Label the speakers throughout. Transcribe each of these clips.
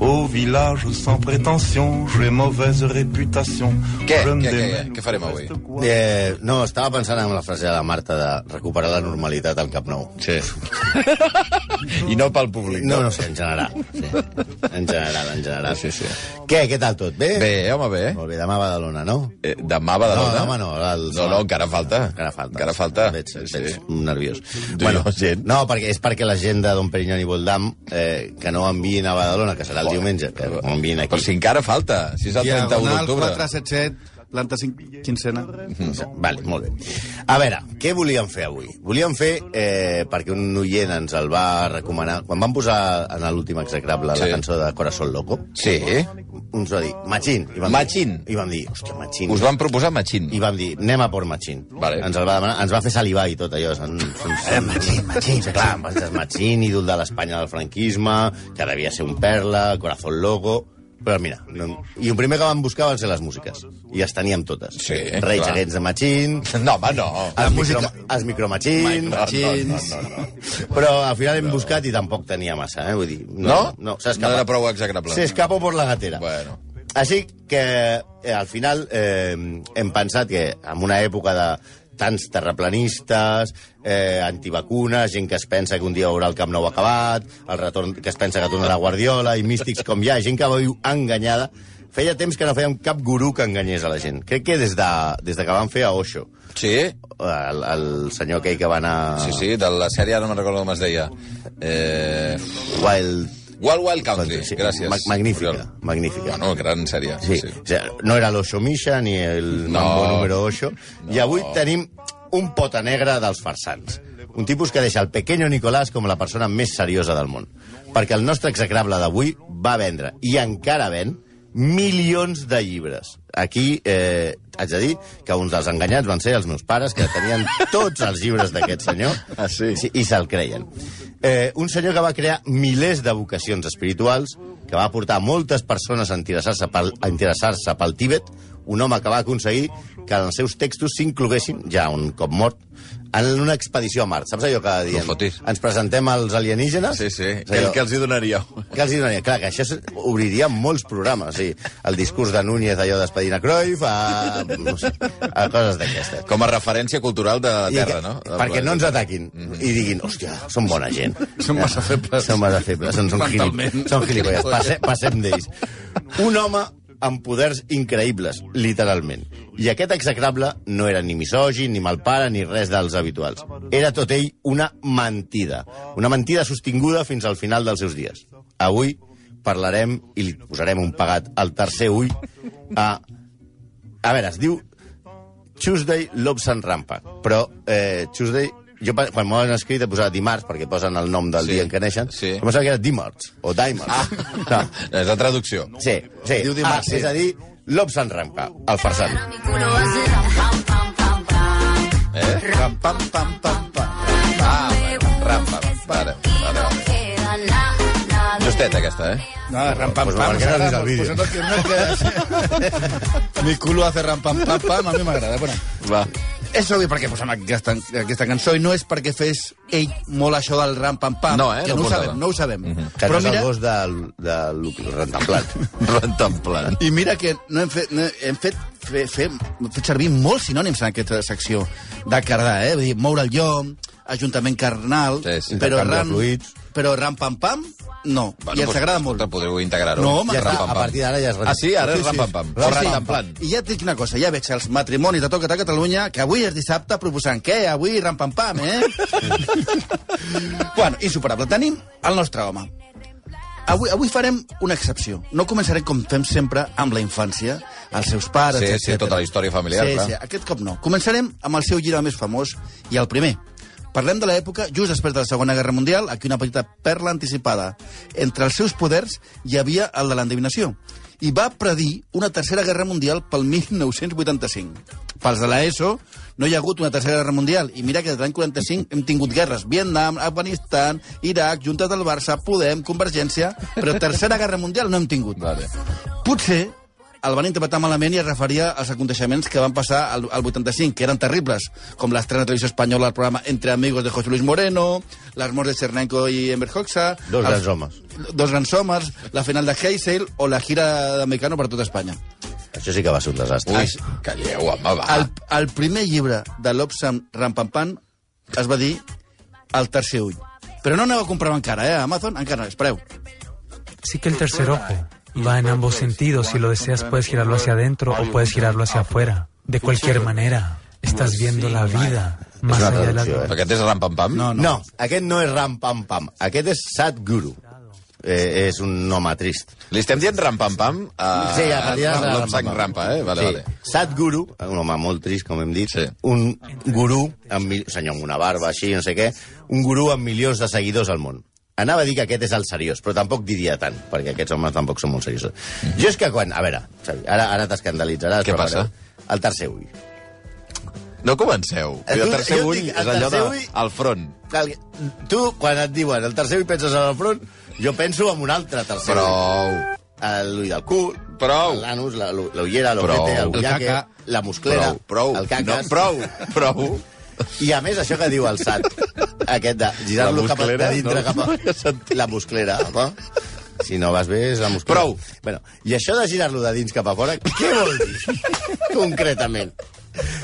Speaker 1: Au village sans prétention, j'ai mauvaise réputation.
Speaker 2: Què?
Speaker 1: Je me
Speaker 2: Què, què,
Speaker 1: démène
Speaker 2: què farem
Speaker 1: au
Speaker 2: avui?
Speaker 1: reste quoi.
Speaker 3: Eh, no, estava pensant en la frase de la Marta de recuperar la normalitat al Camp Nou.
Speaker 2: Sí. I no pel públic.
Speaker 3: No, no sé, en general. Sí. En general, en general.
Speaker 2: Sí, sí.
Speaker 3: Què, què tal tot? Bé?
Speaker 2: Bé, eh, home, bé.
Speaker 3: Molt bé, demà a Badalona, no?
Speaker 2: Eh, demà va de
Speaker 3: No,
Speaker 2: l'hora?
Speaker 3: demà no, el-
Speaker 2: no, no, encara falta.
Speaker 3: Encara falta.
Speaker 2: Encara falta.
Speaker 3: Et veig, et
Speaker 2: Sí,
Speaker 3: veig
Speaker 2: sí.
Speaker 3: nerviós.
Speaker 2: Tu i jo, gent.
Speaker 3: No, perquè és perquè la gent de Don Perignon i Voldam, eh, que no enviïn a Badalona, que serà el diumenge, que ho enviïn aquí.
Speaker 2: Però si encara falta, si és el 31
Speaker 4: Diagonal
Speaker 2: d'octubre.
Speaker 4: 477, planta 5, quincena.
Speaker 3: Vale, molt bé. A veure, què volíem fer avui? Volíem fer, eh, perquè un oient ens el va recomanar, quan van posar en l'últim execrable
Speaker 2: Sí.
Speaker 3: la cançó de Corazón Loco,
Speaker 2: Sí.
Speaker 3: ens va dir, Machín. I vam
Speaker 2: Machín.
Speaker 3: Dir, I vam dir, hòstia, Machín.
Speaker 2: Us van proposar Machín.
Speaker 3: I vam dir, anem a por Machín.
Speaker 2: Vale.
Speaker 3: Ens el va demanar, ens va fer salivar i tot allò. Són, són, són, Eh, machín, machín. Sí, clar, em vas dir, Machín, ídol de l'Espanya del franquisme, que devia ser un perla, Corazón Loco... Però mira, no, i el primer que vam buscar van ser les músiques. I les teníem totes.
Speaker 2: Sí,
Speaker 3: Reis
Speaker 2: clar.
Speaker 3: Against de Machín,
Speaker 2: No, home, no.
Speaker 3: els, micro, els micromachins...
Speaker 4: Machins.
Speaker 3: No, no, no, no. Però al final hem buscat i tampoc tenia massa, eh? Vull dir,
Speaker 2: No?
Speaker 3: no,
Speaker 2: No
Speaker 3: s'escapa.
Speaker 2: era prou execrable.
Speaker 3: S'escapa por la gatera.
Speaker 2: Bueno.
Speaker 3: Així que eh, al final eh, hem pensat que en una època de tants terraplanistes, eh, antivacunes, gent que es pensa que un dia veurà el Camp Nou acabat, el retorn que es pensa que tornarà Guardiola, i místics com hi ha, gent que viu enganyada. Feia temps que no fèiem cap gurú que enganyés a la gent. Crec que des de, des de que van fer a Osho,
Speaker 2: Sí?
Speaker 3: el, el senyor aquell que va anar...
Speaker 2: Sí, sí, de la sèrie, ara no me'n recordo com es deia. Eh...
Speaker 3: Wild... doncs,
Speaker 2: Wild Wild Country, gràcies.
Speaker 3: Ma magnífica,
Speaker 2: Oriol.
Speaker 3: magnífica.
Speaker 2: Bueno, gran sèrie.
Speaker 3: Sí. O sigui, no era l'Oixo Misha ni el
Speaker 2: No.
Speaker 3: Mambo número 8. I avui tenim un pota negra dels farsants. Un tipus que deixa el pequeño Nicolás com la persona més seriosa del món. Perquè el nostre execrable d'avui va vendre, i encara ven, milions de llibres. Aquí eh, haig de dir que uns dels enganyats van ser els meus pares, que tenien tots els llibres d'aquest senyor
Speaker 2: Ah, sí?
Speaker 3: Sí, i se'l creien. Eh, un senyor que va crear milers de vocacions espirituals, que va portar moltes persones a interessar-se pel, a interessar-se pel Tíbet, un home que va aconseguir que en els seus textos s'incloguessin, ja un cop mort, en una expedició a Mart. Saps allò que diem?
Speaker 2: fotis.
Speaker 3: ens presentem als alienígenes?
Speaker 2: Sí, sí.
Speaker 3: És
Speaker 2: Aquell
Speaker 3: allò-
Speaker 2: que els hi donaríeu.
Speaker 3: que els hi donaria? Clar, que això s- obriria molts programes, sí. El discurs de Núñez, allò d'Espedina Cruyff, a, no sé, a coses d'aquestes.
Speaker 2: Com a referència cultural de la
Speaker 3: I
Speaker 2: Terra,
Speaker 3: que-
Speaker 2: no?
Speaker 3: Perquè no ens ataquin i diguin, hòstia, són bona gent.
Speaker 4: Mhm. Són massa febles.
Speaker 3: Són massa febles, són, són, gilip,
Speaker 4: Mentalment.
Speaker 3: són gilipolles. Passe, passem d'ells. Un home amb poders increïbles, literalment. I aquest execrable no era ni misogi, ni mal pare, ni res dels habituals. Era tot ell una mentida. Una mentida sostinguda fins al final dels seus dies. Avui parlarem i li posarem un pagat al tercer ull a... A veure, es diu Tuesday Lobs and Rampa. Però eh, Tuesday... Jo, pa- quan m'ho han escrit, he posat dimarts, perquè posen el nom del
Speaker 2: Sí,
Speaker 3: sí, dia en què neixen.
Speaker 2: sí.
Speaker 3: Em pensava que era dimarts, o dimarts.
Speaker 2: Ah, és la traducció.
Speaker 3: No. Sí, sí.
Speaker 4: Diu
Speaker 3: ah,
Speaker 4: dimarts, sí.
Speaker 3: És a dir, Lobs and Rampa, el farsant.
Speaker 2: Eh? Ram, pam, pam, pam, pam. Pam, ram, pam. Vale, vale, vale. Justet, aquesta, eh?
Speaker 4: No, ram, pam,
Speaker 3: Pues
Speaker 4: pam.
Speaker 3: m'agrada
Speaker 4: m'agrada
Speaker 3: el vídeo.
Speaker 4: molt. Pues no, que no, que- Mi culo hace ram, pam, pam, pam. A mi m'agrada. Bueno,
Speaker 2: Va.
Speaker 4: és obvi per què posem aquesta, aquesta cançó i no és perquè fes ell molt això del ram, pam, pam.
Speaker 2: No, eh,
Speaker 4: Que
Speaker 2: no Mhm.
Speaker 4: no, ho
Speaker 2: portava.
Speaker 4: sabem, no ho sabem.
Speaker 3: Que
Speaker 4: Però
Speaker 3: no és
Speaker 4: mira,
Speaker 3: el gos del, del Lupi, Rentamplat.
Speaker 2: Rentemplant.
Speaker 4: I mira que no hem fet, no hem fet, fe, fe, hem fet servir molts sinònims en aquesta secció de cardar, eh? Vull dir, moure el llom, ajuntament carnal,
Speaker 2: Sí, sí.
Speaker 4: però,
Speaker 3: Intercanvi de
Speaker 4: ram,
Speaker 3: fluids.
Speaker 4: però ram pam pam, no. I ens agrada molt.
Speaker 2: Escolta, podeu integrar-ho.
Speaker 4: No, home,
Speaker 2: Ram,
Speaker 4: clar,
Speaker 2: pam,
Speaker 3: a
Speaker 2: pam.
Speaker 3: partir d'ara ja és
Speaker 2: Ah, sí? Ara és
Speaker 4: Sí,
Speaker 2: ram,
Speaker 4: sí.
Speaker 2: pam, pam.
Speaker 4: Sí, sí.
Speaker 2: Rentemplant.
Speaker 4: I ja et dic una cosa, ja veig els matrimonis de tot a Catalunya, que avui és dissabte, proposant què? Avui ram-pam-pam, eh? bueno, insuperable. Tenim el nostre home. Avui, avui farem una excepció. No començarem com fem sempre amb la infància, els seus pares,
Speaker 2: Sí, sí,
Speaker 4: etcètera.
Speaker 2: tota la història familiar,
Speaker 4: Sí,
Speaker 2: clar.
Speaker 4: sí, aquest cop no. Començarem amb el seu llibre més famós i el primer. Parlem de l'època just després de la Segona Guerra Mundial, aquí una petita perla anticipada. Entre els seus poders hi havia el de l'endevinació i va predir una tercera guerra mundial pel 1985. Pels de l'ESO no hi ha hagut una tercera guerra mundial. I mira que des de l'any 45 hem tingut guerres. Vietnam, Afganistan, Iraq, Juntes del Barça, Podem, Convergència... Però tercera guerra mundial no hem tingut.
Speaker 2: Vale.
Speaker 4: Potser el van interpretar malament i es referia als aconteixements que van passar al, al 85, que eren terribles, com l'estrena de televisió espanyola del programa Entre Amigos de José Luis Moreno, les morts de Chernenko i Enver Hoxha...
Speaker 3: Dos
Speaker 2: Ah.
Speaker 4: els-
Speaker 3: grans homes.
Speaker 4: Dos grans homes, la final de Heysel o la gira de Mecano per tota Espanya.
Speaker 3: Això sí que va ser un desastre. Ah,
Speaker 2: Ui, calleu, home, va.
Speaker 4: El, el primer llibre de l'Obsam Rampampan es va dir El tercer ull. Però no aneu a comprar encara, eh? A Amazon encara, espereu.
Speaker 5: Sí que el tercer ojo va en ambos sentidos. Si lo deseas, puedes girarlo hacia adentro o puedes girarlo hacia afuera. De cualquier manera, estás viendo la vida más
Speaker 3: una
Speaker 5: allá de la...
Speaker 3: traducció, eh?
Speaker 2: Aquest és Ram Pam Pam?
Speaker 4: No,
Speaker 3: No, no, aquest no és Ram Pam Pam. Aquest és Sadhguru. Eh, és un home trist.
Speaker 2: Li estem dient Ram Pam Pam a,
Speaker 3: Sí, a partir
Speaker 2: a
Speaker 3: d'ara serà
Speaker 2: l'Obsang
Speaker 3: Ram Pam Pam.
Speaker 2: Rampa, eh? Vale,
Speaker 3: sí.
Speaker 2: vale.
Speaker 3: Sadhguru, un home molt trist, com hem dit,
Speaker 2: Sí.
Speaker 3: un gurú, amb, mil- un senyor amb una barba així, no sé què, un gurú amb milions de seguidors al món. Anava a dir que aquest és el seriós, però tampoc diria tant, perquè aquests homes tampoc són molt seriosos. Jo és que quan... A veure, Xavi, ara, ara t'escandalitzaràs.
Speaker 2: Què
Speaker 3: però a
Speaker 2: passa?
Speaker 3: veure, El tercer ull.
Speaker 2: No comenceu.
Speaker 3: Eh,
Speaker 2: El
Speaker 3: tu-
Speaker 2: tercer
Speaker 3: jo
Speaker 2: ull
Speaker 3: dic, el
Speaker 2: és allò de...
Speaker 3: tercer ull-
Speaker 2: Al front.
Speaker 3: Cal- Tu, quan et diuen el tercer ull penses en el front, jo penso en un altre tercer
Speaker 2: Prou.
Speaker 3: ull. L'ull del cul,
Speaker 2: Prou.
Speaker 3: l'anus, la- l'ullera,
Speaker 2: Prou.
Speaker 3: l'oquete, el
Speaker 2: El
Speaker 3: bullaque,
Speaker 6: caca.
Speaker 3: la musclera,
Speaker 2: Prou, prou.
Speaker 3: el cacas...
Speaker 2: No, prou, prou.
Speaker 3: I a més, això que diu el Sat, aquest de girar-lo
Speaker 2: La
Speaker 3: cap a de
Speaker 2: musclera,
Speaker 3: dintre,
Speaker 2: no?
Speaker 3: cap
Speaker 2: No havia
Speaker 3: a...
Speaker 2: sentit.
Speaker 3: la musclera, apa. Si no vas bé, és la musclera.
Speaker 2: Prou.
Speaker 3: Bueno, I això de girar-lo de dins cap a fora, què vol dir, concretament?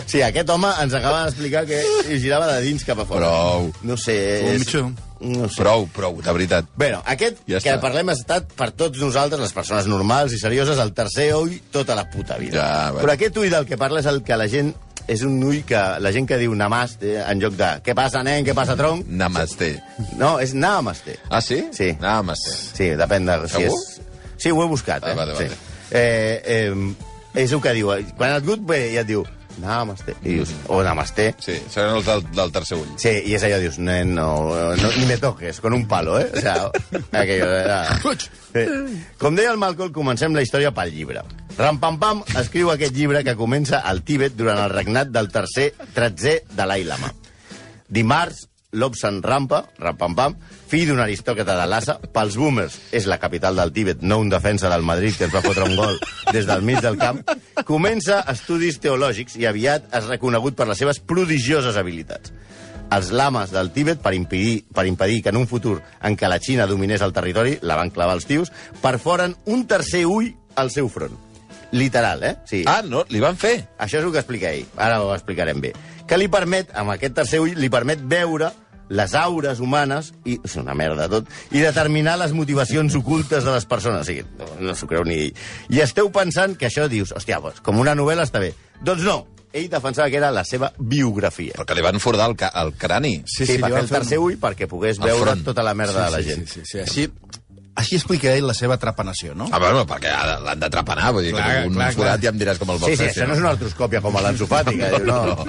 Speaker 3: Sí, aquest home ens acaba d'explicar que hi girava de dins cap a fora.
Speaker 2: Prou.
Speaker 3: No sé...
Speaker 4: Un
Speaker 3: És...
Speaker 4: mitjó.
Speaker 3: No sé.
Speaker 2: Prou, prou, de veritat.
Speaker 3: Bueno, aquest
Speaker 2: Ja
Speaker 3: ja
Speaker 2: està.
Speaker 3: que parlem ha estat per tots nosaltres, les persones normals i serioses, el tercer ull tota la puta vida.
Speaker 2: Ja, bueno.
Speaker 3: Però aquest ull del que parla és el que la gent... És un ull que la gent que diu namaste en lloc de què passa, nen, què passa, tronc...
Speaker 2: Namasté.
Speaker 3: No, és namaste.
Speaker 2: Ah, sí?
Speaker 3: Sí.
Speaker 2: Namasté.
Speaker 3: Sí, depèn de... Si
Speaker 2: Segur?
Speaker 3: és... Sí, ho he buscat, eh?
Speaker 2: Ah, vale, vale.
Speaker 3: Sí. Eh, eh, és el que diu. Quan et gut bé, ja et diu namaste. I dius, o namaste.
Speaker 2: Sí, seran els del, del tercer ull.
Speaker 3: Sí, y es allò dius, nen, no, no, ni me toques, con un palo, eh? O sea, aquello era... Sí. Com deia el Malcolm, comencem la història pel llibre. Rampampam escriu aquest llibre que comença al Tíbet durant el regnat del tercer, tretzer Dalai Lama. Dimarts, Lobsan Rampa, Rampampam, fill d'un aristòcrata de Lhasa, pels boomers, és la capital del Tíbet, no un defensa del Madrid que ens va fotre un gol des del mig del camp, comença estudis teològics i aviat és reconegut per les seves prodigioses habilitats. Els lames del Tíbet, per impedir, per impedir que en un futur en què la Xina dominés el territori, la van clavar els tios, perforen un tercer ull al seu front. Literal, eh? Sí.
Speaker 2: Ah, no, li van fer.
Speaker 3: Això és el que explica ell. Ara ho explicarem bé. Que li permet, amb aquest tercer ull, li permet veure les aures humanes, i és una merda tot, i determinar les motivacions ocultes de les persones. O sigui, no, no s'ho creu ni ell. I esteu pensant que això dius, hòstia, pues, com una novel·la està bé. Doncs no, ell defensava que era la seva biografia.
Speaker 2: Però que li van fordar el, ca el crani.
Speaker 3: Sí, sí, sí
Speaker 4: li
Speaker 3: va fer
Speaker 4: van
Speaker 3: el
Speaker 4: fer un-
Speaker 3: tercer ull perquè pogués
Speaker 2: Al
Speaker 3: veure
Speaker 2: front.
Speaker 3: tota la merda de la gent.
Speaker 6: Sí, sí, sí. sí.
Speaker 4: Així, així explica ell la seva trapanació, no?
Speaker 2: Ah, bueno, perquè ha- l'han de trapanar, vull dir, clar,
Speaker 6: Clar,
Speaker 2: que un clar,
Speaker 6: clar,
Speaker 2: forat
Speaker 6: clar.
Speaker 2: ja em diràs com el vas
Speaker 3: Sí, sí,
Speaker 2: fer.
Speaker 3: això no és una artroscòpia com a l'ensofàtica. diu,
Speaker 2: No,
Speaker 3: no.
Speaker 2: no.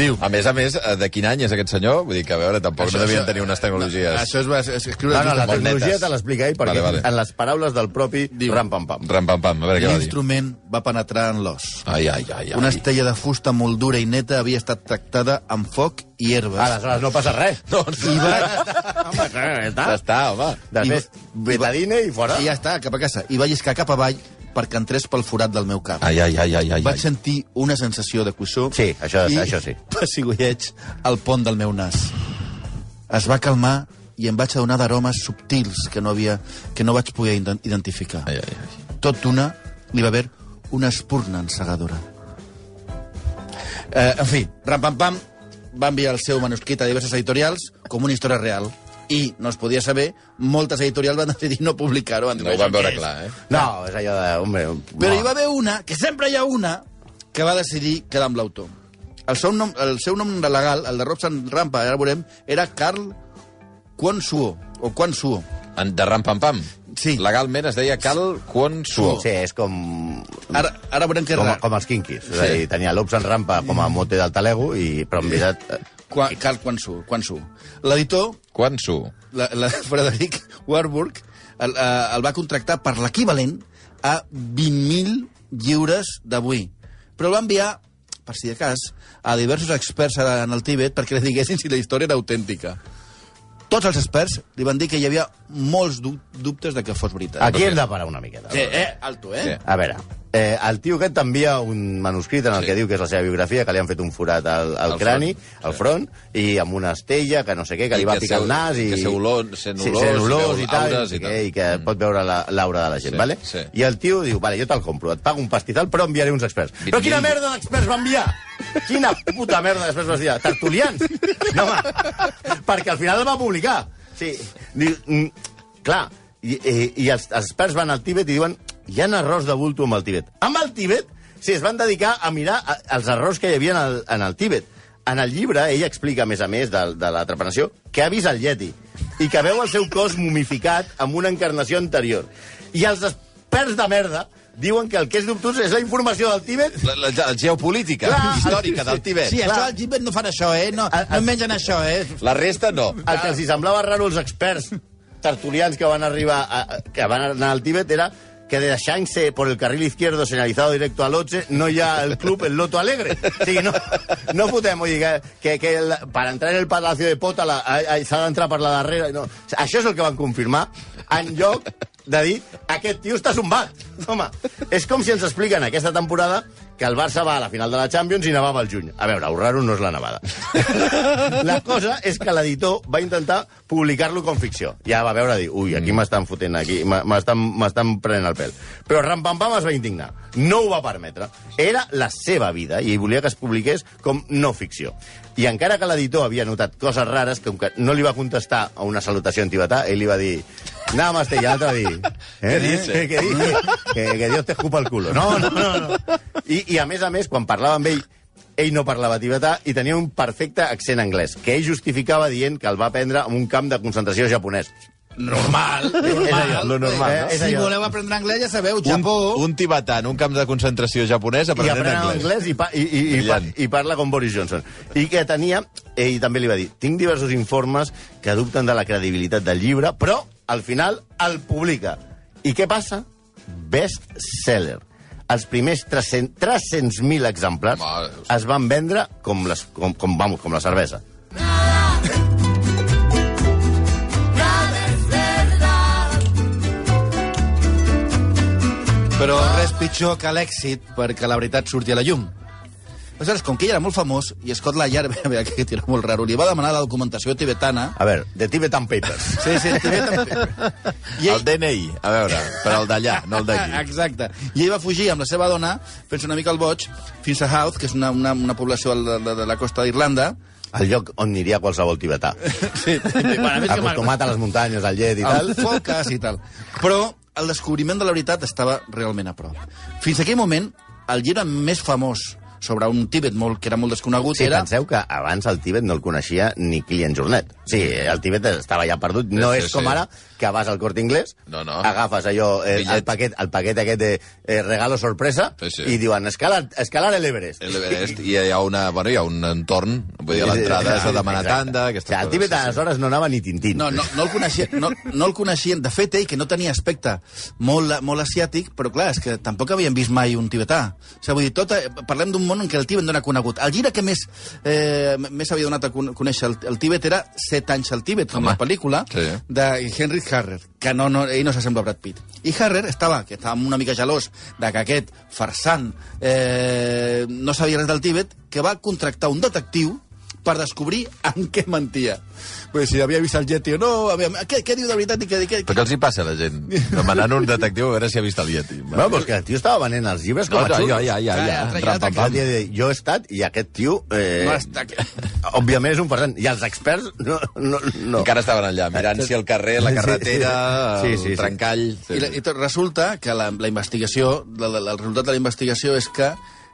Speaker 2: Diu. A més a més, eh, de quin any és aquest senyor? Vull dir que, a veure, tampoc
Speaker 6: Això-
Speaker 2: no devien
Speaker 6: això-
Speaker 2: tenir unes tecnologies.
Speaker 6: Això es va es- escriure...
Speaker 3: No, no,
Speaker 6: just
Speaker 3: la
Speaker 6: abans.
Speaker 3: tecnologia
Speaker 2: netes.
Speaker 3: te l'explica ell, perquè
Speaker 2: Vale,
Speaker 3: vale,
Speaker 2: vale.
Speaker 3: vale. en les paraules del propi ram-pam-pam.
Speaker 2: Ram, pam, pam, a veure què va dir.
Speaker 4: L'instrument va penetrar en l'os.
Speaker 2: Ai, ai, ai, ai.
Speaker 4: Una estella de fusta molt dura i neta havia estat tractada amb foc i herbes.
Speaker 2: Ah,
Speaker 3: Aleshores no passa res.
Speaker 2: No, no.
Speaker 3: Home, doncs, clar, ja està.
Speaker 2: Ja està, home.
Speaker 3: Després, betadine i fora.
Speaker 4: I ja està, cap a casa. I va lliscar cap avall perquè entrés pel forat del meu cap.
Speaker 2: Ai, ai, ai, ai, ai.
Speaker 4: Vaig
Speaker 2: ai.
Speaker 4: sentir una sensació de cuixó
Speaker 3: Sí, això-
Speaker 4: i
Speaker 3: això sí.
Speaker 4: pessigolleig al pont del meu nas. Es va calmar i em vaig adonar d'aromes subtils que no, havia, que no vaig poder ident- identificar.
Speaker 2: Ai, ai, ai.
Speaker 4: Tot d'una li va haver una espurna encegadora. Eh, en fi, Rampampam va enviar el seu manuscrit a diverses editorials com una història real. I no es podia saber, moltes editorials van decidir no publicar-ho. Van dir,
Speaker 2: No ho
Speaker 4: "Això
Speaker 2: van veure
Speaker 4: què és?"
Speaker 2: clar, eh?
Speaker 3: No, és allò de... Hombre,
Speaker 4: Però hi va haver una, que sempre hi ha una, que va decidir quedar amb l'autor. El seu nom, el seu nom legal, el de Robson Rampa, ara ho veurem, era Carl Quan Suo, o Quan Suo.
Speaker 2: En- De ram, pam, pam.
Speaker 4: Sí.
Speaker 2: Legalment es deia Cal Kwon Suo.
Speaker 3: Sí, és com...
Speaker 4: Ara, ara veurem que és
Speaker 3: Com,
Speaker 4: rar.
Speaker 3: com els quinquis. Sí. És a
Speaker 2: Sí.
Speaker 3: dir, tenia l'Ops en rampa com a mote del talego, i, però en veritat... eh,
Speaker 4: Qua- Carl Quan Suo, Quan Suo. L'editor,
Speaker 2: Kwon Suo.
Speaker 4: la, la Frederic Warburg, el, eh, el va contractar per l'equivalent a 20.000 lliures d'avui. Però el va enviar per si de cas, a diversos experts ara en el Tíbet perquè li diguessin si la història era autèntica. Tots els experts li van dir que hi havia molts du- dubtes de que fos veritat.
Speaker 3: Aquí hem de parar una miqueta.
Speaker 4: Sí, eh? Alto, eh?
Speaker 3: A veure, eh, el tio aquest t'envia un manuscrit en el
Speaker 4: Sí.
Speaker 3: que diu que és la seva biografia, que li han fet un forat al, al
Speaker 2: Al
Speaker 3: crani,
Speaker 2: front,
Speaker 3: al
Speaker 2: sí.
Speaker 3: front, i amb una estella, que no sé què, que
Speaker 2: I
Speaker 3: li va
Speaker 2: que
Speaker 3: picar
Speaker 2: seu-
Speaker 3: el nas i...
Speaker 2: que seu olor- sent
Speaker 3: sí,
Speaker 2: olors,
Speaker 3: sent olors
Speaker 2: veu
Speaker 3: i tal,
Speaker 2: aures
Speaker 3: i,
Speaker 2: i
Speaker 3: i,
Speaker 2: tal. Mm.
Speaker 3: que, i que pot veure la- l'aura de la gent,
Speaker 2: Sí,
Speaker 3: vale?
Speaker 2: sí.
Speaker 3: I el tio diu, vale, jo te'l compro, et pago un pastizal, però enviaré uns experts. Però quina
Speaker 2: mil.
Speaker 3: merda d'experts va enviar? Quina puta merda d'experts va enviar? Tertulians? No, home, perquè al final el va publicar. Sí. Diu, mm, clar, i, i, i els, els experts van al Tíbet i diuen hi ha errors de bulto amb el Tíbet. Amb el Tíbet, sí, es van dedicar a mirar a, els errors que hi havia en el, en el Tíbet. En el llibre, ella explica, a més a més, de, de la trepanació, que ha vist el Yeti i que veu el seu cos mumificat amb una encarnació anterior. I els experts de merda diuen que el que és dubtós és la informació del Tíbet
Speaker 2: La, la, la geopolítica
Speaker 3: Clar,
Speaker 2: històrica del Tibet.
Speaker 4: Sí,
Speaker 3: Clar.
Speaker 4: això al Tíbet no fan això, eh? No, no mengen això, eh?
Speaker 2: La resta no.
Speaker 3: El que els hi semblava raro als experts tertulians que van arribar a, que van anar al Tíbet era que de Shanxe por el carril izquierdo señalizado directo al 11 no hi ha el club El Loto Alegre. O sigui, no, no fotem, vull dir, que, que, que el, per entrar en el Palacio de Pota la- ai, ai, s'ha d'entrar per la darrera. No. Això és el que van confirmar en lloc de dir aquest tio està zumbat. Home, és com si ens expliquen aquesta temporada que el Barça va a la final de la Champions i nevava al juny. A veure, el raro no és la nevada. La cosa és que l'editor va intentar publicar-lo com ficció. Ja va veure, dir, ui, aquí m'estan fotent, aquí m- m'estan m'estan prenent el pèl. Però Ram Pam Pam es va indignar. No ho va permetre. Era la seva vida i volia que es publiqués com no ficció. I encara que l'editor havia notat coses rares, com que no li va contestar a una salutació en tibetà, ell li va dir... Namaste, i l'altre va dir... Eh, dice? Que, dice? que, que Dios te escupa el culo. No, no, no. no. I, I a més a més, quan parlava amb ell, ell no parlava tibetà i tenia un perfecte accent anglès, que ell justificava dient que el va aprendre en un camp de concentració japonès.
Speaker 4: Normal, Eh,
Speaker 3: És allò, lo normal, no?
Speaker 4: Si voleu aprendre anglès, ja sabeu,
Speaker 2: Un,
Speaker 4: Japó...
Speaker 2: un tibetà en un camp de concentració japonesa
Speaker 3: I
Speaker 2: aprenent
Speaker 3: aprèn
Speaker 2: anglès.
Speaker 3: anglès i, pa, i, i, i, pa,
Speaker 2: Brillant.
Speaker 3: i parla com Boris Johnson. I que tenia, ell també li va dir, tinc diversos informes que dubten de la credibilitat del llibre, però al final el publica. I què passa? Best seller. Els primers 300 300.000 exemplars
Speaker 2: Mare de Déu.
Speaker 3: es van vendre com, les, com, com, vamos, com la cervesa.
Speaker 4: Però res pitjor que l'èxit perquè la veritat surti a la llum. Aleshores, com que ell era molt famós, i Scott Layard, a veure, aquest era molt raro, li va demanar la documentació tibetana...
Speaker 3: A veure, The Tibetan Papers.
Speaker 4: Sí, sí, tibetana... I
Speaker 2: El DNI, a veure, per al d'allà, no el d'aquí.
Speaker 4: Exacte. I ell va fugir amb la seva dona, fent una mica el boig, fins a Howth, que és una, una, una població de, de, de la costa d'Irlanda.
Speaker 3: El lloc on aniria qualsevol tibetà.
Speaker 4: Sí,
Speaker 3: Acostumat a les muntanyes, al llet i tal.
Speaker 4: Amb foques i tal. Però el descobriment de la veritat estava realment a prop. Fins aquell moment, el llibre més famós sobre un Tíbet molt, que era molt desconegut
Speaker 3: Sí,
Speaker 4: era...
Speaker 3: penseu que abans el Tíbet no el coneixia ni Client Jornet. Sí, el Tíbet estava ja perdut. No
Speaker 2: Sí,
Speaker 3: és
Speaker 2: sí,
Speaker 3: com
Speaker 2: sí.
Speaker 3: ara, que vas al Corte Inglés,
Speaker 2: No, no.
Speaker 3: agafes allò, eh, el,
Speaker 2: Bitllet.
Speaker 3: paquet, el paquet aquest de eh, regalo sorpresa,
Speaker 2: Sí, sí.
Speaker 3: i diuen escalar, escalar el Everest.
Speaker 2: El Everest, i hi ha, una, bueno, hi ha un entorn, vull dir, a l'entrada s'ha de demanar
Speaker 3: Exacte.
Speaker 2: tanda...
Speaker 3: O sigui, el Tíbet aleshores no anava ni tintín.
Speaker 4: No, no, no, el coneixien, no, no el coneixien. De fet, ell, que no tenia aspecte molt, molt asiàtic, però clar, és que tampoc havien vist mai un tibetà. O sigui, vull dir, tot, eh, parlem d'un món en què el Tíbet no era conegut. El gira que més, eh, més havia donat a con- conèixer el, el Tíbet era Set anys al Tíbet, com
Speaker 2: Home,
Speaker 4: la pel·lícula
Speaker 2: sí.
Speaker 4: de Henry Harrer, que no, no, ell no s'assembla a Brad Pitt. I Harrer estava, que estava una mica gelós de que aquest farsant eh, no sabia res del Tíbet, que va contractar un detectiu per descobrir en què mentia. Pues si havia vist el Yeti o no, aviam, què, què diu de veritat i què... què,
Speaker 2: Però què els hi passa a la gent? Demanant un detectiu a veure si ha vist el Yeti.
Speaker 3: Bueno, però és que el tio estava venent els llibres com a
Speaker 2: no,
Speaker 3: xurros.
Speaker 2: ja, ja, ja, ja.
Speaker 4: Clar,
Speaker 2: Ram, pam, pam.
Speaker 3: El dia de- Jo he estat i aquest tio... Eh,
Speaker 4: No està aquí.
Speaker 3: Òbviament és un farsant. I els experts... No, no, no.
Speaker 2: Encara estaven allà, mirant-s'hi el carrer, la carretera, sí,
Speaker 3: Sí, sí,
Speaker 2: sí,
Speaker 3: sí.
Speaker 2: el trencall... Sí.
Speaker 4: I, la, i tot, resulta que la, la investigació, la, la, el resultat de la investigació és que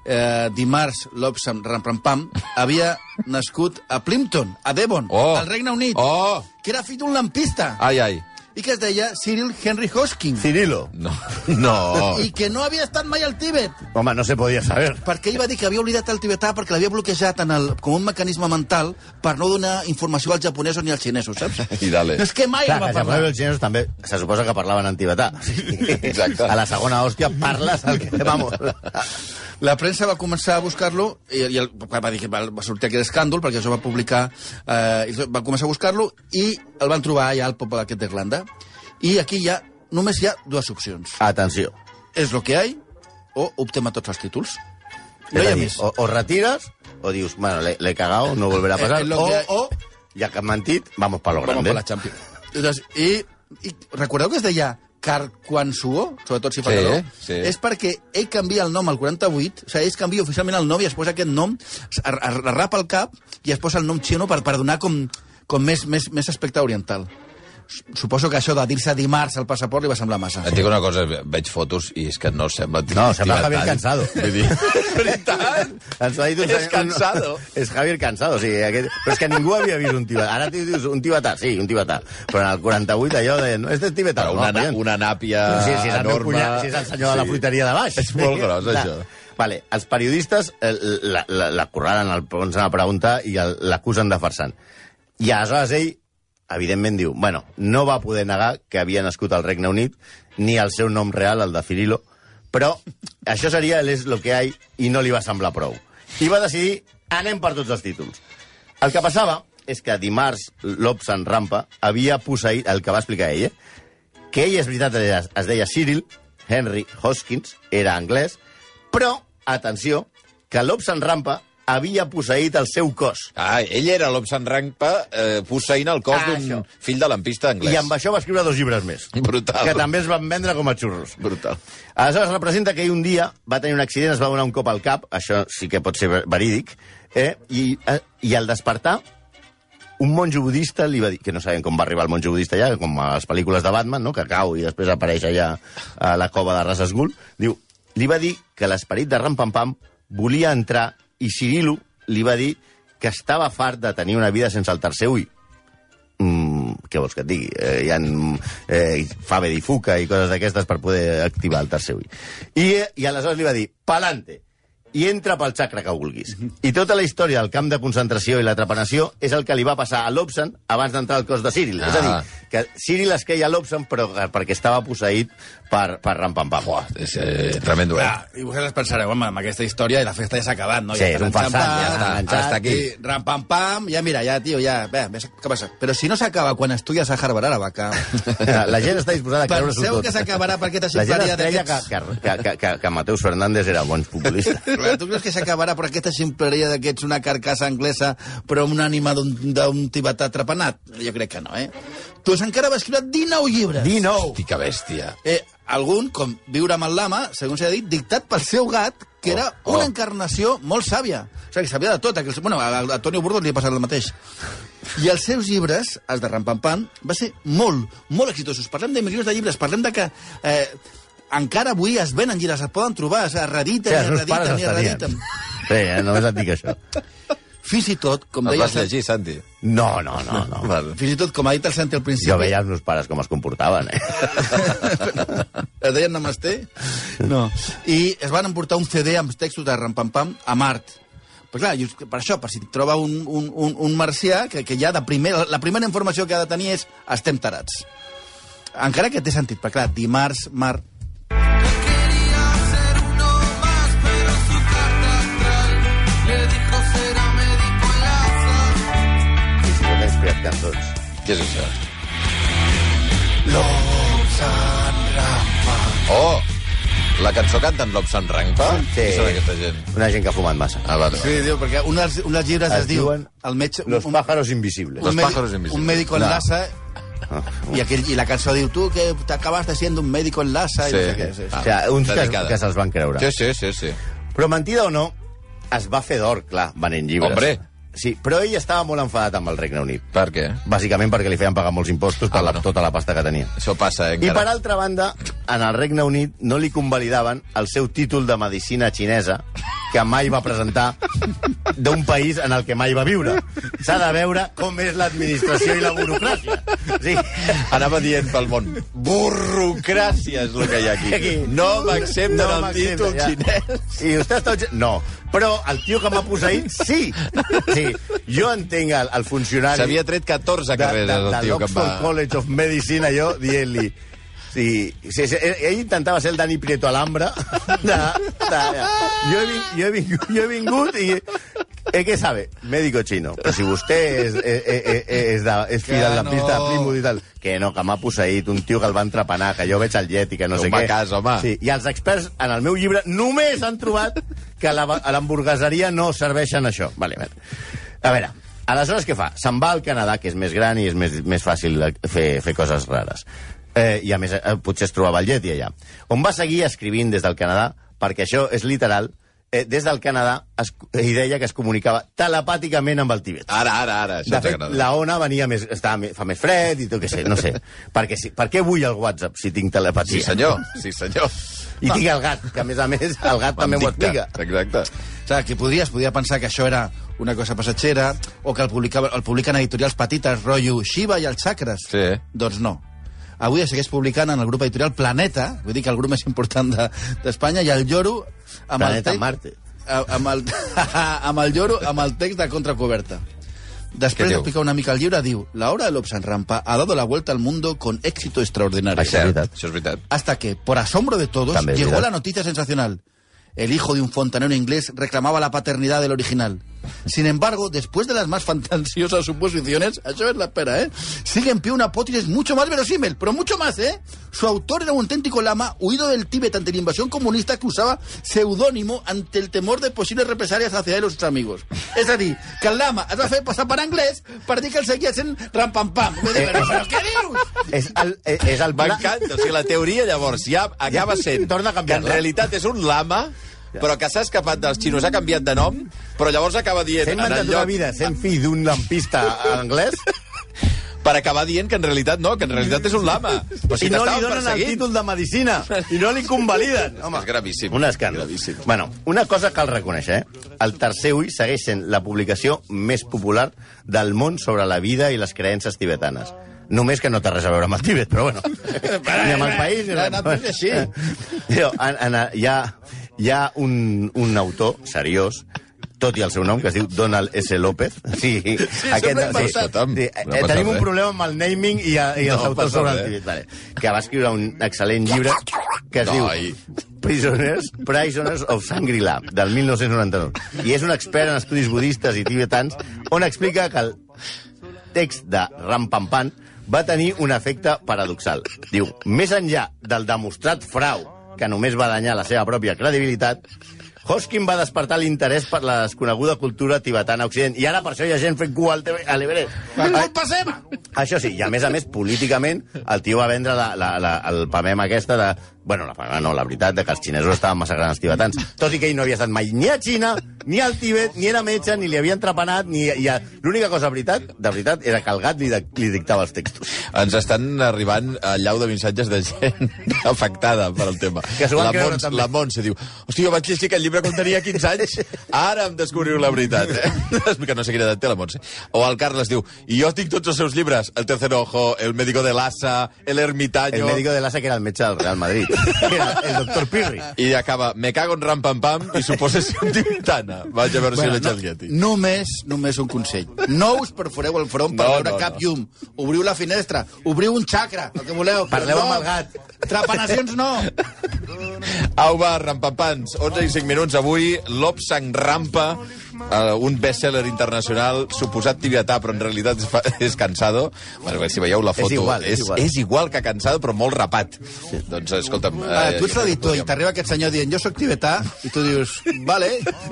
Speaker 4: eh, dimarts l'Obsam Ramprampam havia nascut a Plimpton, a Devon,
Speaker 2: Oh.
Speaker 4: al Regne Unit,
Speaker 2: Oh.
Speaker 4: que era fill d'un lampista
Speaker 2: Ai, ai.
Speaker 4: i que es deia Cyril Henry Hoskin
Speaker 3: Cirilo.
Speaker 2: No, no.
Speaker 4: i que no havia estat mai al Tíbet.
Speaker 3: Home, no se podia saber.
Speaker 4: perquè ell va dir que havia oblidat el tibetà perquè l'havia bloquejat en el, com un mecanisme mental per no donar informació als japonesos ni als xinesos, saps?
Speaker 2: I dale.
Speaker 4: No és que mai
Speaker 3: Clar,
Speaker 4: en
Speaker 3: que
Speaker 4: va
Speaker 3: els japonesos i
Speaker 4: parlar.
Speaker 3: els xinesos també se suposa que parlaven en tibetà.
Speaker 2: Exacte.
Speaker 3: A la segona hòstia parles el que... Vamos.
Speaker 4: La premsa va començar a buscar-lo i, i el, va, dir que va, va sortir aquest escàndol perquè això va publicar, eh, i van començar a buscar-lo i el van trobar allà al poble d'aquest d'Irlanda i aquí hi ha, només hi ha dues opcions.
Speaker 3: Atenció.
Speaker 4: És lo que hay o optem a tots els títols.
Speaker 3: És
Speaker 4: No hi
Speaker 3: a
Speaker 4: ha
Speaker 3: dir,
Speaker 4: més.
Speaker 3: O, o retires, o dius, bueno, le, le he cagado, no volverá a pasar.
Speaker 4: Eh, eh, lo
Speaker 3: o,
Speaker 4: que hay-
Speaker 3: o, ja que han mentit, vamos pa lo
Speaker 4: Vamos
Speaker 3: grande.
Speaker 4: per la Champions. Entonces, Doncs, i, i recordeu que es deia Car Quan Suo, sobretot si fa
Speaker 2: Sí,
Speaker 4: calor?
Speaker 2: sí.
Speaker 4: És perquè ell canvia el nom al 48, o sigui, ells canvia oficialment el nom i es posa aquest nom, es- es es rapa el cap i es posa el nom xino per, per donar com, com més, més, més aspecte oriental. S- Suposo que això de dir-se dimarts al passaport li va semblar massa.
Speaker 2: Et dic una cosa, veig fotos i és que no sembla...
Speaker 3: No, sembla Javier Cansado.
Speaker 2: Vull dir... Veritat?
Speaker 3: Ens ho ha dit un
Speaker 2: És
Speaker 3: senyor-
Speaker 2: cansado.
Speaker 3: És Javier Cansado, sí. Aquest... Però és que ningú havia vist un tibetà. Ara tu dius un tibetà, sí, un tibetà. Però en el 48 allò deien, no, este és tibetà.
Speaker 2: Però una,
Speaker 3: no,
Speaker 2: na-
Speaker 3: collons.
Speaker 2: una nàpia
Speaker 3: Sí, sí, és el, meu
Speaker 2: enorme...
Speaker 3: cunyat, sí, és el senyor sí. de la fruiteria de baix.
Speaker 2: És molt gros,
Speaker 3: Clar.
Speaker 2: això.
Speaker 3: Vale, els periodistes eh, la, la, la curraren, el posen a preguntar i el- l'acusen de farsant. I aleshores ell, evidentment, diu, bueno, no va poder negar que havia nascut al Regne Unit ni el seu nom real, el de Cirilo, però això seria el és lo que hay i no li va semblar prou. I va decidir, anem per tots els títols. El que passava és que dimarts Lopes en rampa havia posseït, el que va explicar ell, eh? que ell, és veritat, es, es deia Cyril Henry Hoskins, era anglès, però, atenció, que Lopes en rampa havia posseït el seu cos.
Speaker 2: Ah, ell era l'Obsan Rampa eh, posseint el cos
Speaker 3: Ah,
Speaker 2: d'un
Speaker 3: això.
Speaker 2: fill de lampista anglès.
Speaker 3: I amb això va escriure dos llibres més.
Speaker 2: Brutal.
Speaker 3: Que també es van vendre com a xurros.
Speaker 2: Brutal.
Speaker 3: Aleshores, representa que ell un dia va tenir un accident, es va donar un cop al cap, això sí que pot ser ver- verídic, eh? I, eh, i al despertar, un monjo budista li va dir, que no sabem com va arribar el monjo budista allà, com a les pel·lícules de Batman, no? que cau i després apareix allà a la cova de Ras Ghul, diu, li va dir que l'esperit de Ram Pam Pam volia entrar i Cirilo li va dir que estava fart de tenir una vida sense el tercer ull. Mm, què vols que et digui? Eh, hi ha eh, fave di fuca i coses d'aquestes per poder activar el tercer ull. I, eh, I aleshores li va dir, pa'lante, i entra pel xacra que vulguis. I tota la història del camp de concentració i l'atrapanació és el que li va passar a Lobson abans d'entrar al cos de Cyril.
Speaker 2: Ah.
Speaker 3: Ah. És a dir, que Cyril es queia a Lobson però, que- perquè estava posseït per, per Ram Pam Pam.
Speaker 2: És eh, tremendo,
Speaker 3: Ah,
Speaker 2: eh?
Speaker 4: Clar, I vosaltres pensareu, home, amb aquesta història la festa ja s'ha acabat, no?
Speaker 3: Sí, és un farsant, ja està,
Speaker 2: ja està aquí.
Speaker 4: I ram, pam, pam, ja mira, ja, tio, ja, bé, ves què passa? Però si no s'acaba quan estudies a Harvard Arabaca,
Speaker 3: La gent està disposada a creure-s'ho
Speaker 4: penseu
Speaker 3: tot.
Speaker 4: que s'acabarà per aquesta
Speaker 3: La gent es
Speaker 4: ximpleria
Speaker 3: creia que,
Speaker 4: d'aquests...
Speaker 3: que, que, que, que, que Mateus Fernández era bon futbolista.
Speaker 4: Clar, Tu creus que s'acabarà per aquesta ximpleria d'aquests una carcassa anglesa però amb una ànima d'un d'un tibetà trepanat? Jo crec que no, eh? Tu encara va escriure 19 llibres.
Speaker 3: 19!
Speaker 2: Hosti, que bèstia.
Speaker 4: Eh, algun, com Viure amb el lama, segons s'ha dit, dictat pel seu gat, que era
Speaker 2: Oh, oh.
Speaker 4: una encarnació molt sàvia. O sigui, que sabia de tot. Aquell... Bueno, a, a Toni Burgos li ha passat el mateix. I els seus llibres, els de Rampampan, va ser molt, molt exitosos. Parlem de milions de llibres, parlem de que... Eh, encara avui es venen llibres, es poden trobar, es
Speaker 3: Sí,
Speaker 4: rediten i
Speaker 3: els
Speaker 4: es
Speaker 3: meus pares
Speaker 4: rediten i
Speaker 3: els
Speaker 4: es
Speaker 3: tenien.
Speaker 4: rediten.
Speaker 3: Sí, eh, només et dic això.
Speaker 4: Fins i tot, com
Speaker 2: El
Speaker 4: deia...
Speaker 2: vas llegir, Santi?
Speaker 3: No, no, no. no.
Speaker 2: Val.
Speaker 4: Fins i tot, com ha dit el Santi al principi...
Speaker 3: Jo veia els meus pares com es comportaven, eh?
Speaker 4: es deien Namasté? No. I es van emportar un CD amb textos de Rampampam a Mart. Però clar, just per això, per si troba un, un, un, un marcià, que, que ja de primer, la primera informació que ha de tenir és estem tarats. Encara que té sentit, perquè clar, dimarts, mar...
Speaker 2: Ah,
Speaker 3: M'he inspirat cançons.
Speaker 2: Què és això? L'Obsan Rampa. Oh! La cançó canten l'Obsan Rampa? Qui són aquesta gent?
Speaker 3: Una gent que ha fumat massa.
Speaker 2: Ah, vale.
Speaker 4: Sí, diu, perquè un dels, un dels llibres es,
Speaker 3: Es
Speaker 4: diu...
Speaker 3: diuen
Speaker 4: El metge,
Speaker 3: Los
Speaker 4: un-
Speaker 3: pájaros invisibles.
Speaker 2: Los
Speaker 4: un, médico-
Speaker 2: pájaros invisibles.
Speaker 4: un médico
Speaker 2: No.
Speaker 4: enlaza
Speaker 3: Ah,
Speaker 4: y, aquell, y la canción diu tu que te acabaste siendo un médico enlaza y no
Speaker 2: Sí.
Speaker 4: sé què, sí.
Speaker 3: O sigui, uns que,
Speaker 2: Dedicada.
Speaker 3: que se'ls van creure.
Speaker 2: Sí, sí, sí, sí.
Speaker 3: Però mentida o no, es va fer d'or, clar, venent llibres.
Speaker 2: Hombre.
Speaker 3: Sí, però ell estava molt enfadat amb el Regne Unit.
Speaker 2: Per què?
Speaker 3: Bàsicament perquè li feien pagar molts impostos per
Speaker 2: Ah,
Speaker 3: la,
Speaker 2: bueno.
Speaker 3: tota la pasta que tenia.
Speaker 2: Això passa, eh,
Speaker 3: I per
Speaker 2: encara.
Speaker 3: altra banda, en el Regne Unit no li convalidaven el seu títol de medicina xinesa que mai va presentar d'un país en el que mai va viure. S'ha de veure com és l'administració i la burocràcia. Sí.
Speaker 2: Anava dient pel món, burrocràcia és el que hi ha aquí. No m'accepten
Speaker 3: No
Speaker 2: el
Speaker 3: m'accepta,
Speaker 2: títol
Speaker 3: ja.
Speaker 2: xinès.
Speaker 3: I vostè està... No, però el tio que m'ha posseït, sí. sí. Jo entenc el, el funcionari...
Speaker 2: S'havia tret 14
Speaker 3: de, de,
Speaker 2: carreres,
Speaker 3: de
Speaker 2: el tio que em va...
Speaker 3: l'Oxford College of Medicine, allò, dient-li Sí, sí, sí, ell ell intentava ser el Dani Prieto Alhambra. De, de, jo, he, vin- jo, he vingut, jo he vingut i... Eh, què sabe? Médico chino. Però si vostè és, eh, eh, eh, és, de, és fill de la
Speaker 4: Que
Speaker 3: pista
Speaker 4: no.
Speaker 3: de Plymouth i tal... Que no, que m'ha posseït un tio que el va entrepenar, que jo veig el llet i que no
Speaker 2: Que
Speaker 3: sé
Speaker 2: un
Speaker 3: què.
Speaker 2: bacàs, home.
Speaker 3: Sí, I els experts, en el meu llibre, només han trobat que la- a l'hamburgueseria no serveixen això. Vale, vale. A veure, aleshores què fa? Se'n va al Canadà, que és més gran i és més, més fàcil de fer, fer coses rares. Eh, I a més, eh, potser es trobava el Yeti allà. On va seguir escrivint des del Canadà, perquè això és literal, eh, des del Canadà es, i deia que es comunicava telepàticament amb el Tibet.
Speaker 2: Ara, ara, ara, Ah, això
Speaker 3: De fet,
Speaker 2: t'agrada.
Speaker 3: la ona venia més, estava, més- fa més fred i tot que sé, no sé. perquè, si, per què vull el WhatsApp si tinc telepatia?
Speaker 2: Sí, senyor, sí, senyor.
Speaker 3: I tinc el gat, que a més a més el gat també m'ho
Speaker 2: Mendicte,
Speaker 3: explica.
Speaker 2: Exacte.
Speaker 4: O sigui, que podries, podia pensar que això era una cosa passatgera o que el, publicava, el publiquen editorials petites, rotllo Shiva i els xacres.
Speaker 2: Sí. eh?
Speaker 4: Doncs no. Avui es segueix publicant en el grup editorial Planeta, vull dir que el grup més important de- d'Espanya, de, i el lloro... Amb
Speaker 3: Planeta
Speaker 4: el text-
Speaker 3: Marte.
Speaker 4: a- Amb el, amb el lloro, amb el text de contracoberta.
Speaker 2: Què
Speaker 4: Després
Speaker 2: diu?
Speaker 4: d'explicar una mica el llibre, diu La hora de l'Obsan Rampa ha dado la vuelta al mundo con éxito extraordinario.
Speaker 2: És cert,
Speaker 3: veritat.
Speaker 2: això és veritat.
Speaker 4: Hasta que, por asombro de todos,
Speaker 3: También es
Speaker 4: llegó
Speaker 3: verdad.
Speaker 4: la noticia sensacional. El hijo de un fontanero inglés reclamaba la paternidad del original. Sin embargo, después de las más fantasiosas suposiciones, eso es la espera, ¿eh? Sigue en pie una hipótesis mucho más verosímil, pero mucho más, ¿eh? Su autor era un auténtico lama huido del Tíbet ante la invasión comunista que usaba seudónimo ante el temor de posibles represalias hacia él o sus amigos. Es decir, que el lama es va fer passar per anglès per dir que el seguia sent rampampam. Vull dir, Però, però què dius?
Speaker 3: És el, eh, és el pla...
Speaker 2: M'encanta. O sigui, la teoria, llavors, ja acaba sent
Speaker 3: Torna a
Speaker 2: que
Speaker 3: canviar-la.
Speaker 2: en realitat és un lama, però que s'ha escapat dels xinos, ha canviat de nom, però llavors acaba dient...
Speaker 3: S'ha
Speaker 2: en el
Speaker 3: inventat una
Speaker 2: lloc-
Speaker 3: vida sent fill d'un lampista anglès
Speaker 2: Per acabar dient que en realitat no, que en realitat és un lama. Però si
Speaker 3: i no li
Speaker 2: t'estaven
Speaker 3: donen el
Speaker 2: perseguint.
Speaker 3: títol de medicina i no li convaliden. Home,
Speaker 2: És gravíssim.
Speaker 3: Un escàndal.
Speaker 2: Gravíssim.
Speaker 3: Bueno, una cosa cal reconèixer, eh? El Tercer Ull segueix sent la publicació més popular del món sobre la vida i les creences tibetanes. Només que no té res a veure amb el Tibet, però bueno. ni amb el país, ni
Speaker 4: Ha anat
Speaker 3: amb...
Speaker 4: tot així.
Speaker 3: Però, en, en, hi ha, hi ha un, un autor seriós tot i el seu nom, que es diu Donald S. López. Sí, sí
Speaker 2: sempre inventat.
Speaker 3: sí,
Speaker 2: No
Speaker 3: eh,
Speaker 2: passa
Speaker 3: tenim un
Speaker 2: res.
Speaker 3: problema amb el naming i, a, i els
Speaker 2: No
Speaker 3: autors
Speaker 2: passa
Speaker 3: sobre el
Speaker 2: res.
Speaker 3: Tibet. Vale. Que va escriure un excel·lent llibre que es
Speaker 2: Ai.
Speaker 3: diu Prisoners, Prisoners of Shangri-La, del 1999. I és un expert en estudis budistes i tibetans on explica que el text de Rampampan va tenir un efecte paradoxal. Diu, més enllà del demostrat frau que només va danyar la seva pròpia credibilitat, Hoskin va despertar l'interès per la desconeguda cultura tibetana occident. I ara per això hi ha gent fent cua al TV a l'Everest.
Speaker 4: Per culpa seva!
Speaker 3: Això sí, i a més a més, políticament, el tio va vendre la, la, la, el pamem aquesta de... Bueno, la pamem no, la veritat, de que els xinesos estaven massacrant els tibetans. Tot i que ell no havia estat mai ni a Xina, ni al Tibet, ni era metge, ni li havia entrepenat, ni... I a... L'única cosa veritat, de veritat, era que el gat li, de, li dictava els textos.
Speaker 2: Ens estan arribant al llau de missatges de gent afectada per al tema.
Speaker 3: Que s'ho van
Speaker 2: la,
Speaker 3: creure,
Speaker 2: Montse,
Speaker 3: també.
Speaker 2: la Montse diu, hòstia, jo vaig llegir aquest llibre quan tenia 15 anys, ara em descobriu la veritat. Eh? Que no sé quina edat té la Montse. O el Carles diu, i jo tinc tots els seus llibres, El tercer ojo, El médico de l'asa, El ermitaño...
Speaker 3: El médico de l'ASA, que era el metge del Real Madrid, que era el doctor Pirri.
Speaker 2: I acaba, me cago en rampampam i su posesión tibetana. Vaig a veure si l'he
Speaker 4: no,
Speaker 2: el Yeti.
Speaker 4: només, només un consell. No us perforeu el front per
Speaker 2: No,
Speaker 4: no, veure
Speaker 2: no,
Speaker 4: no,
Speaker 2: no.
Speaker 4: cap no. llum. Obriu la finestra, obriu un xacra, el que voleu.
Speaker 3: Parleu
Speaker 4: però
Speaker 3: amb
Speaker 4: no,
Speaker 3: el gat.
Speaker 4: Trapanacions no.
Speaker 2: Au, va, rampampans. 11 i 5 minuts avui. L'Obsang Rampa, eh, un best-seller internacional, suposat tibetà, però en realitat és, fa- és cansado. Bueno, bé, si veieu la foto,
Speaker 3: igual, és
Speaker 2: és,
Speaker 3: igual.
Speaker 2: és igual que cansado, però molt rapat. Doncs, eh, escolta'm...
Speaker 4: Ah,
Speaker 2: jo
Speaker 4: tu ets
Speaker 2: crec que
Speaker 4: l'editor i
Speaker 2: podríem-
Speaker 4: t'arriba aquest senyor dient jo sóc tibetà i tu dius, vale.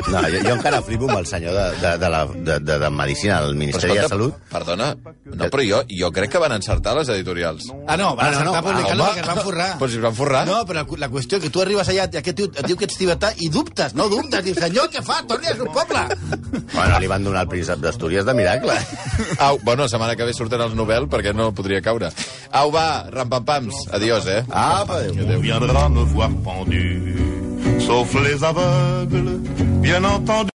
Speaker 3: No, jo, jo encara flipo amb el senyor de, de, de, la, de, de, de Medicina, del
Speaker 2: Però
Speaker 3: Ministeri de
Speaker 2: escolta,
Speaker 3: Salut.
Speaker 2: Perdona, no, però jo, jo crec que van encertar les editorials.
Speaker 4: Ah, no, van
Speaker 3: Ah, no,
Speaker 4: no,
Speaker 3: no,
Speaker 4: no, publicar-lo
Speaker 2: home.
Speaker 4: perquè es van forrar.
Speaker 2: Però si es van forrar.
Speaker 4: No, però la qüestió que tu arribes allà i aquest tio et diu que ets tibetà i dubtes, no dubtes. Dius, senyor, què fa? Torni al seu poble.
Speaker 3: Bueno, li van donar el príncep d'Astúries de miracle.
Speaker 2: Au, bueno, la setmana que ve surten els Nobel perquè no podria caure. Au, va, rampampams. Adiós, eh?
Speaker 3: Apa, adéu.
Speaker 1: On viendra me voir pendu, sauf les aveugles, bien entendu.